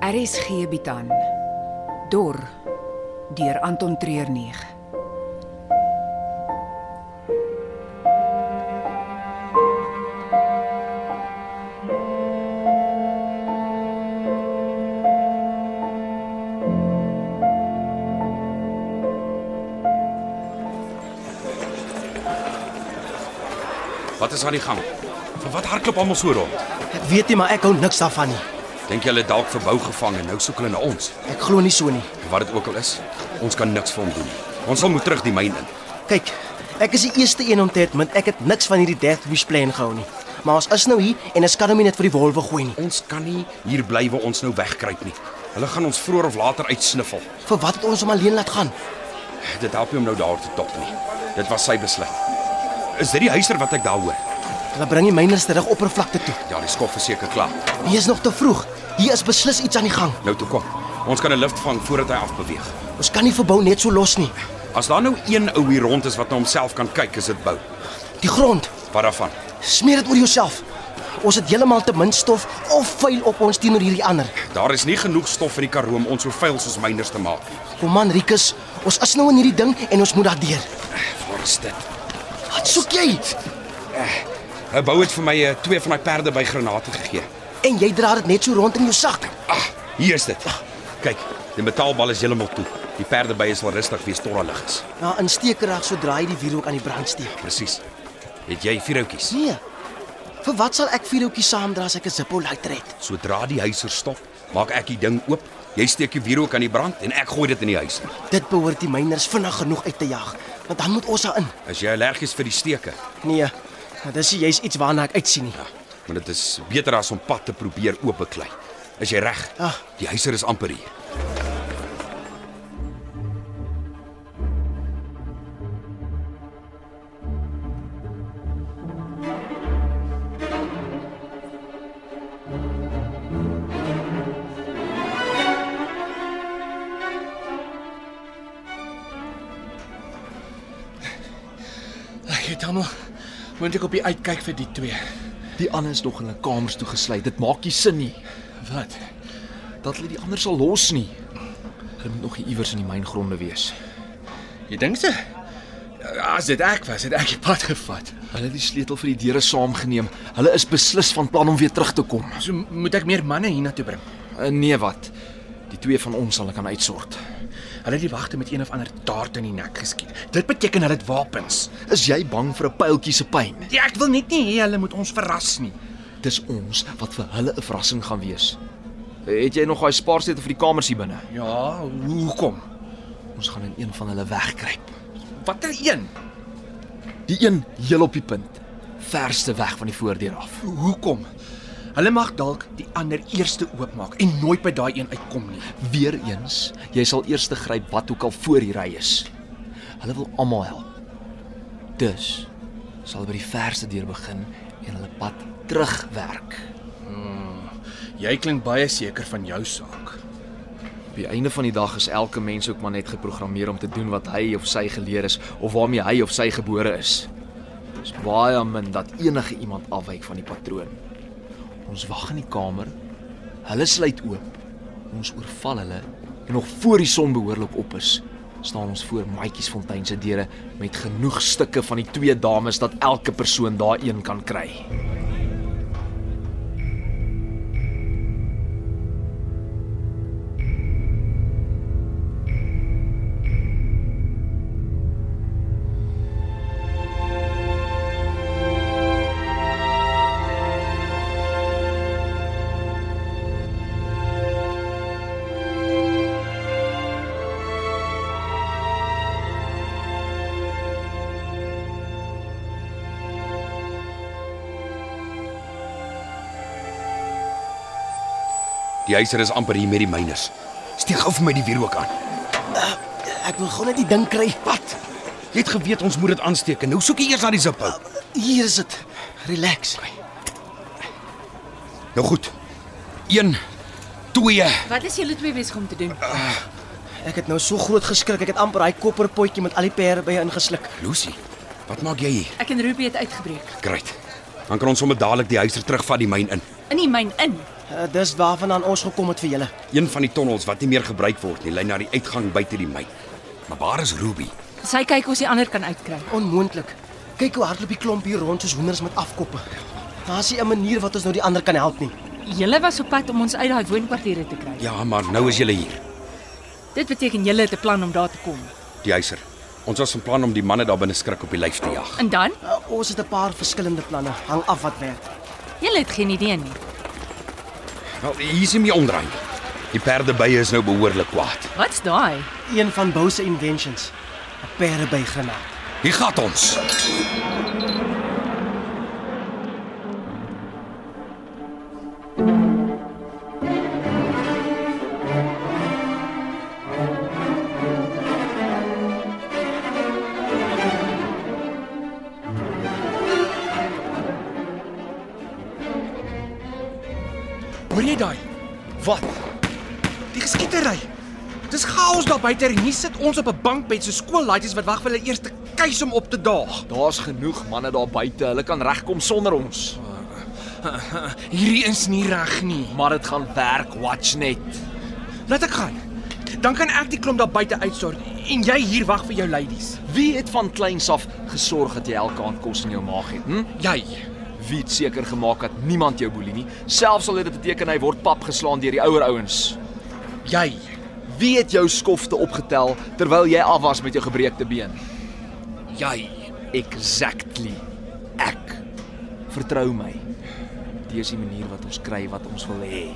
RSG bied aan Dor deur Anton Treuer 9. Wat is aan die gang? Vir wat hardloop almal so rond? Ek weet nie, maar ek hou niks daarvan nie. Dink jy hulle dalk verbou gevang en nou soek hulle na ons? Ek glo nie so nie. Wat dit ook al is, ons kan niks vir hom doen. Ons sal moet terug die myn in. Kyk, ek is die eerste een om te admit ek het niks van hierdie Death Wish plan gehou nie. Maar ons is nou hier en ons kan hom nie net vir die wolwe gooi nie. Ons kan nie hier bly waar ons nou wegkruip nie. Hulle gaan ons vroeër of later uitsniffel. Vir wat het ons hom alleen laat gaan? Dit help nie om nou daar te top nie. Dit was sy besluit. Is dit die huiser wat ek daar hoor? Hulle bring die myners terug oppervlakte toe. Ja, die skof is seker klaar. Hier is nog te vroeg. Hier is beslis iets aan die gang. Nou toe kom. Ons kan 'n lift vang voordat hy afbeweeg. Ons kan nie verbou net so los nie. As daar nou een ou hier rond is wat na homself kan kyk, is dit bou. Die grond, Wat daarvan? smeer dit oor jouself. Ons het heeltemal te min stof of vuil op ons teenoor hierdie ander. Daar is nie genoeg stof in die Karoo om ons so vuil soos myners te maak nie. Kom man, Rikus, ons is nou in hierdie ding en ons moet daardeur. Waar is dit? Wat soek jy? Hy bou dit vir my eh, twee van my perde by granate gegee. En jy dra dit net so rond in jou sak. Ag, hier is dit. Ah. Kyk, die metaalbal is heeltemal toe. Die perde by is wel rustig wees tot daar lig is. Na insteekrag sodra jy die wierook aan die brand steek. Presies. Het jy vier houtjies? Nee. Vir wat sal ek vierhoutjie saamdra as ek 'n Zippo lighter het? Sodra die huiser stop, maak ek die ding oop. Jy steek die wierook aan die brand en ek gooi dit in die huis. Dit behoort die myners vinnig genoeg uit te jag, want dan moet ons daarin. As jy allergies vir die steke, Nee. Nou dis nie juis iets waarna ek uitsien nie. ja, maar dit is beter as om pad te probeer oopbeklei. Is jy reg? Ja. Ah. Die huiser is amper hier. Ek het hom moet ek op die uitkyk vir die twee. Die ander is nog in hulle kamers toegesluit. Dit maak nie sin nie Wat? dat hulle die ander sal los nie. Hulle moet nog hier iewers in die myngronde wees. Jy dink se? As dit ek was, het ek die pad gevat. Hulle het die sleutel vir die deure saamgeneem. Hulle is beslis van plan om weer terug te kom. So moet ek meer manne hiernatoe bring. Uh, nee wat? Die twee van ons sal ek kan uitsort. Hulle het die wagte met een of ander taart in die nek geskiet. Dit beteken hulle het wapens. Is jy bang vir 'n pyltjie se pyn? Ja, ek wil net nie hê hulle moet ons verras nie. Dis ons wat vir hulle 'n verrassing gaan wees. Het jy nog daai spaarsleutel vir die kamers hier binne? Ja, hoe kom? Ons gaan in een van hulle wegkruip. Watter een? Die een heel op die punt, verste weg van die voordeur af. Hoe kom? Hulle mag dalk die ander eerste oopmaak en nooit by daai een uitkom nie. Weereens, jy sal eers te gryp wat ook al voor die ry is. Hulle wil almal help. Dus sal by die verste deur begin en hulle pad terugwerk. Jy klink baie seker van jou saak. Op die einde van die dag is elke mens ook maar net geprogrammeer om te doen wat hy of sy geleer is of waarmee hy of sy gebore is. Dis baie min dat enige iemand afwyk van die patroon. Ons wag in die kamer. Hulle sluit oop. Ons oorval hulle en nog voor die son behoorlik op is, staan ons voor Maatjiesfontein se deure met genoeg stukke van die twee dames dat elke persoon daai een kan kry. Die huiser is amper hier met die myners. Steek gou vir my die wierook aan. Ek wil gou net die ding kry. Wat? Jy het geweet ons moet dit aansteek en nou soek jy eers na die ziphou. Hier is dit. Relax. Nou goed. 1 2 Wat is julle twee besig om te doen? Ek het nou so groot geskrik. Ek het amper daai kopperpotjie met al die pere by ingesluk. Lucy, wat maak jy hier? Ek en Ruby het uitgebreek. Great. Dan kan ons sommer dadelik die huiser terugvat die myn in. In die myn in. Eh, Dis waarvandaan ons gekom het vir julle. Een van die tonnels wat nie meer gebruik word nie, lei na die uitgang buite die myn. Maar waar is Ruby? Sy kyk of sy ander kan uitkry. Onmoontlik. Kyk hoe hardloop die klomp hier rond soos hoenders met afkoppe. Daar's nie 'n manier wat ons nou die ander kan help nie. Julle was op pad om ons uit daai woonkwartiere te kry. Ja, maar nou is jy hier, Dit beteken julle het 'n plan om daar te kom. die huiser. Ons was van plan om die manne daar binne skrik op die lyf te jag. En dan? Eh, Ons het 'n paar verskillende planne, hang af wat werk. Julle het geen idee nie. Wel, Nou, hier is hom omdraai. Die perdebye is nou behoorlik kwaad. Wat's daai? Een van Bou se inventions, 'n pereby granaat. Hier gaan ons. Hoor jy daai? Wat? Die geskietery. Dis chaos daar buite en hier sit ons op 'n bankbed so skoollaities wat wag vir hulle eerste keis om op te daag. Daar's genoeg manne daar buite. Hulle kan regkom sonder ons. Hierdie is nie reg nie. Maar dit gaan werk, watch net. Laat ek gaan. Dan kan ek die klomp daar buite uitsort en jy hier wag vir jou ladies. Wie het van kleins af gesorg dat jy elke aand kos in jou maag het? Hm? Jy. Wie het seker gemaak dat niemand jou boelie nie? Selfs al het dit beteken hy word pap geslaan deur die ouer ouens. Jy. Wie het jou skofte opgetel terwyl jy af was met jou gebreekte been? Jy. Exactly. Ek vertrou my. Dis die manier wat ons kry wat ons wil hê.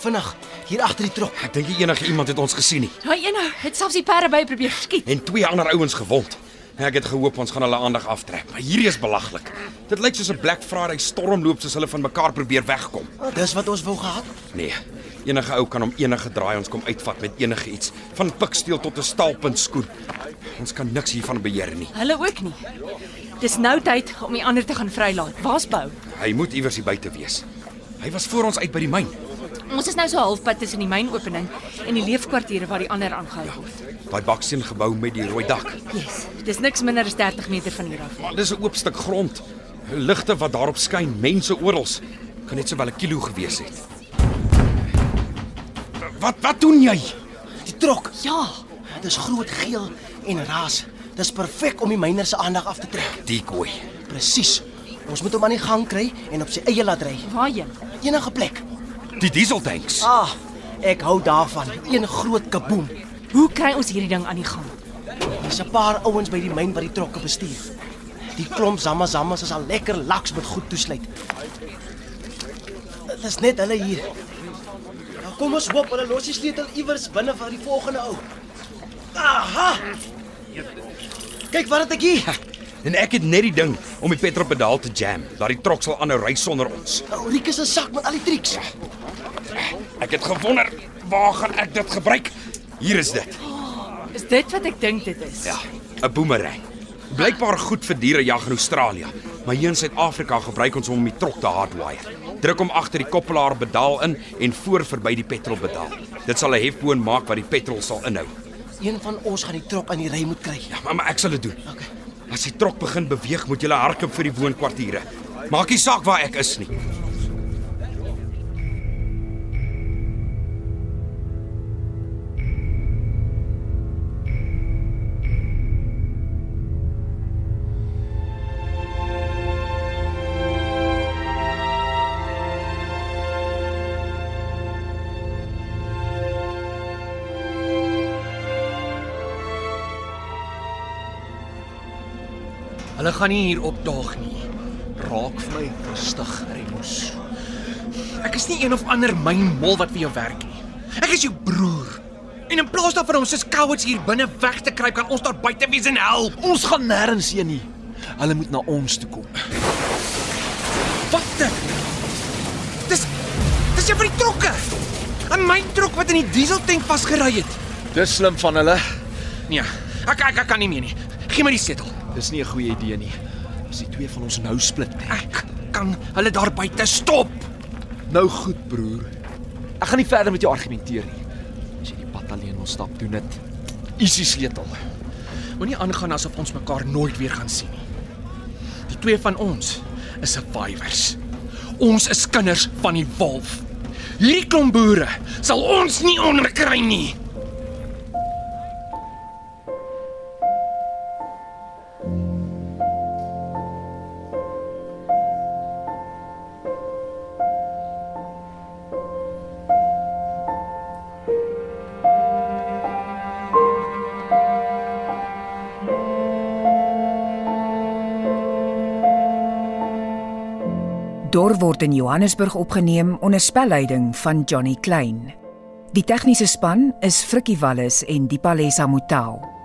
Vinnig, hier agter die trok. Ek dink nie enige iemand het ons gesien nie. Daai een ou het selfs die perde by probeer skiet. En twee ander ouens gewond. Ek het gehoop ons gaan hulle aandag aftrek, maar hierdie is belaglik. Dit lyk soos 'n Black Friday stormloop soos hulle van mekaar probeer wegkom. Dis wat ons wou gehad. Nee. Enige ou kan hom enige draai ons kom uitvat met enige iets, van piksteel tot 'n staalpunt skoen. Ons kan niks hiervan beheer nie. Hulle ook nie. Dis nou tyd om die ander te gaan vrylaat. Waar's Bou? Hy moet iewers hier buite wees. Hy was voor ons uit by die myn. Ons is nou so halfpad tussen die mynopening en die leefkwartiere waar die ander aangehou word. Daai baksteen gebou met die rooi dak. Yes, dis niks minder as 30 meter van hier af. Maar dis 'n oop stuk grond. Ligte wat daarop skyn, mense oral. Kan net sowel 'n kilo gewees het. Wat wat doen jy? Die trok. Ja, Dis groot geel en raas. Dis perfek om die myner se aandag af te trek. Die koei. Presies. Ons moet hom aan die gang kry en op sy eie laat ry. waarheen? Enige plek. Die dieseltanks. Ah, ek hou daarvan. Een groot kaboom. Hoe kry ons hierdie ding aan die gang? Daar's 'n paar ouens by die myn wat die trokke bestuur. Die klomp zamazammas is al lekker laks met goed toesluit. Dis net hulle hier. Nou kom ons hoop hulle los die sleutel iewers binne van die volgende ou. Aha! Kyk wat het ek hier. En ek het net die ding om die petrolpedaal te jam. Laat die trok sal aanhou ry sonder ons. Ulrike se sak met al die triks. Ek het gewonder waar gaan ek dit gebruik? Hier is dit. Is dit wat ek dink dit is? Ja, 'n boemerang. Blykbaar goed vir dierejag in Australië, maar hier in Suid-Afrika gebruik ons hom om die trok te hardwire. Druk hom agter die koppelaar pedaal in en voor verby die petrolpedaal. Dit sal 'n hefboon maak wat die petrol sal inhou. Een van ons gaan die trok aan die ry moet kry. Ja, maar, maar ek sal dit doen. As die trok begin beweeg, moet jy hardloop vir die woonkwartiere. Maak nie saak waar ek is nie. Hulle gaan nie hier opdaag nie. Raak vir my rustig, Remus. Ek is nie een of ander mynmol wat vir jou werk nie. Ek is jou broer. En in plaas daarvan om soos cowards hier binne weg te kruip, kan ons daar buite wees en help. Ons gaan nêrens heen nie. Hulle moet na ons toe kom. Wat? die- Dis Dis een van die trokke. 'n Myn trok wat in die dieseltank vasgery het. Dis slim van hulle. Nee, ek ek, ek kan nie meer nie. Geen my die sleutel. Dis nie 'n goeie idee nie. As die twee van ons nou split, Ek kan hulle daar buite stop. Nou goed, broer. Ek gaan nie verder met jou argumenteer nie. As jy die pad alleen wil stap, doen dit. Isie sleutel. Moenie aangaan asof ons mekaar nooit weer gaan sien nie. Die twee van ons is survivors. Ons is kinders van die wolf. Hierdie klomp boere sal ons nie onderkry nie. Dor word in Johannesburg opgeneem onder spelleiding van Johnny Klein. Die tegniese span is Frikkie Wallis en Dipalesa Motelo.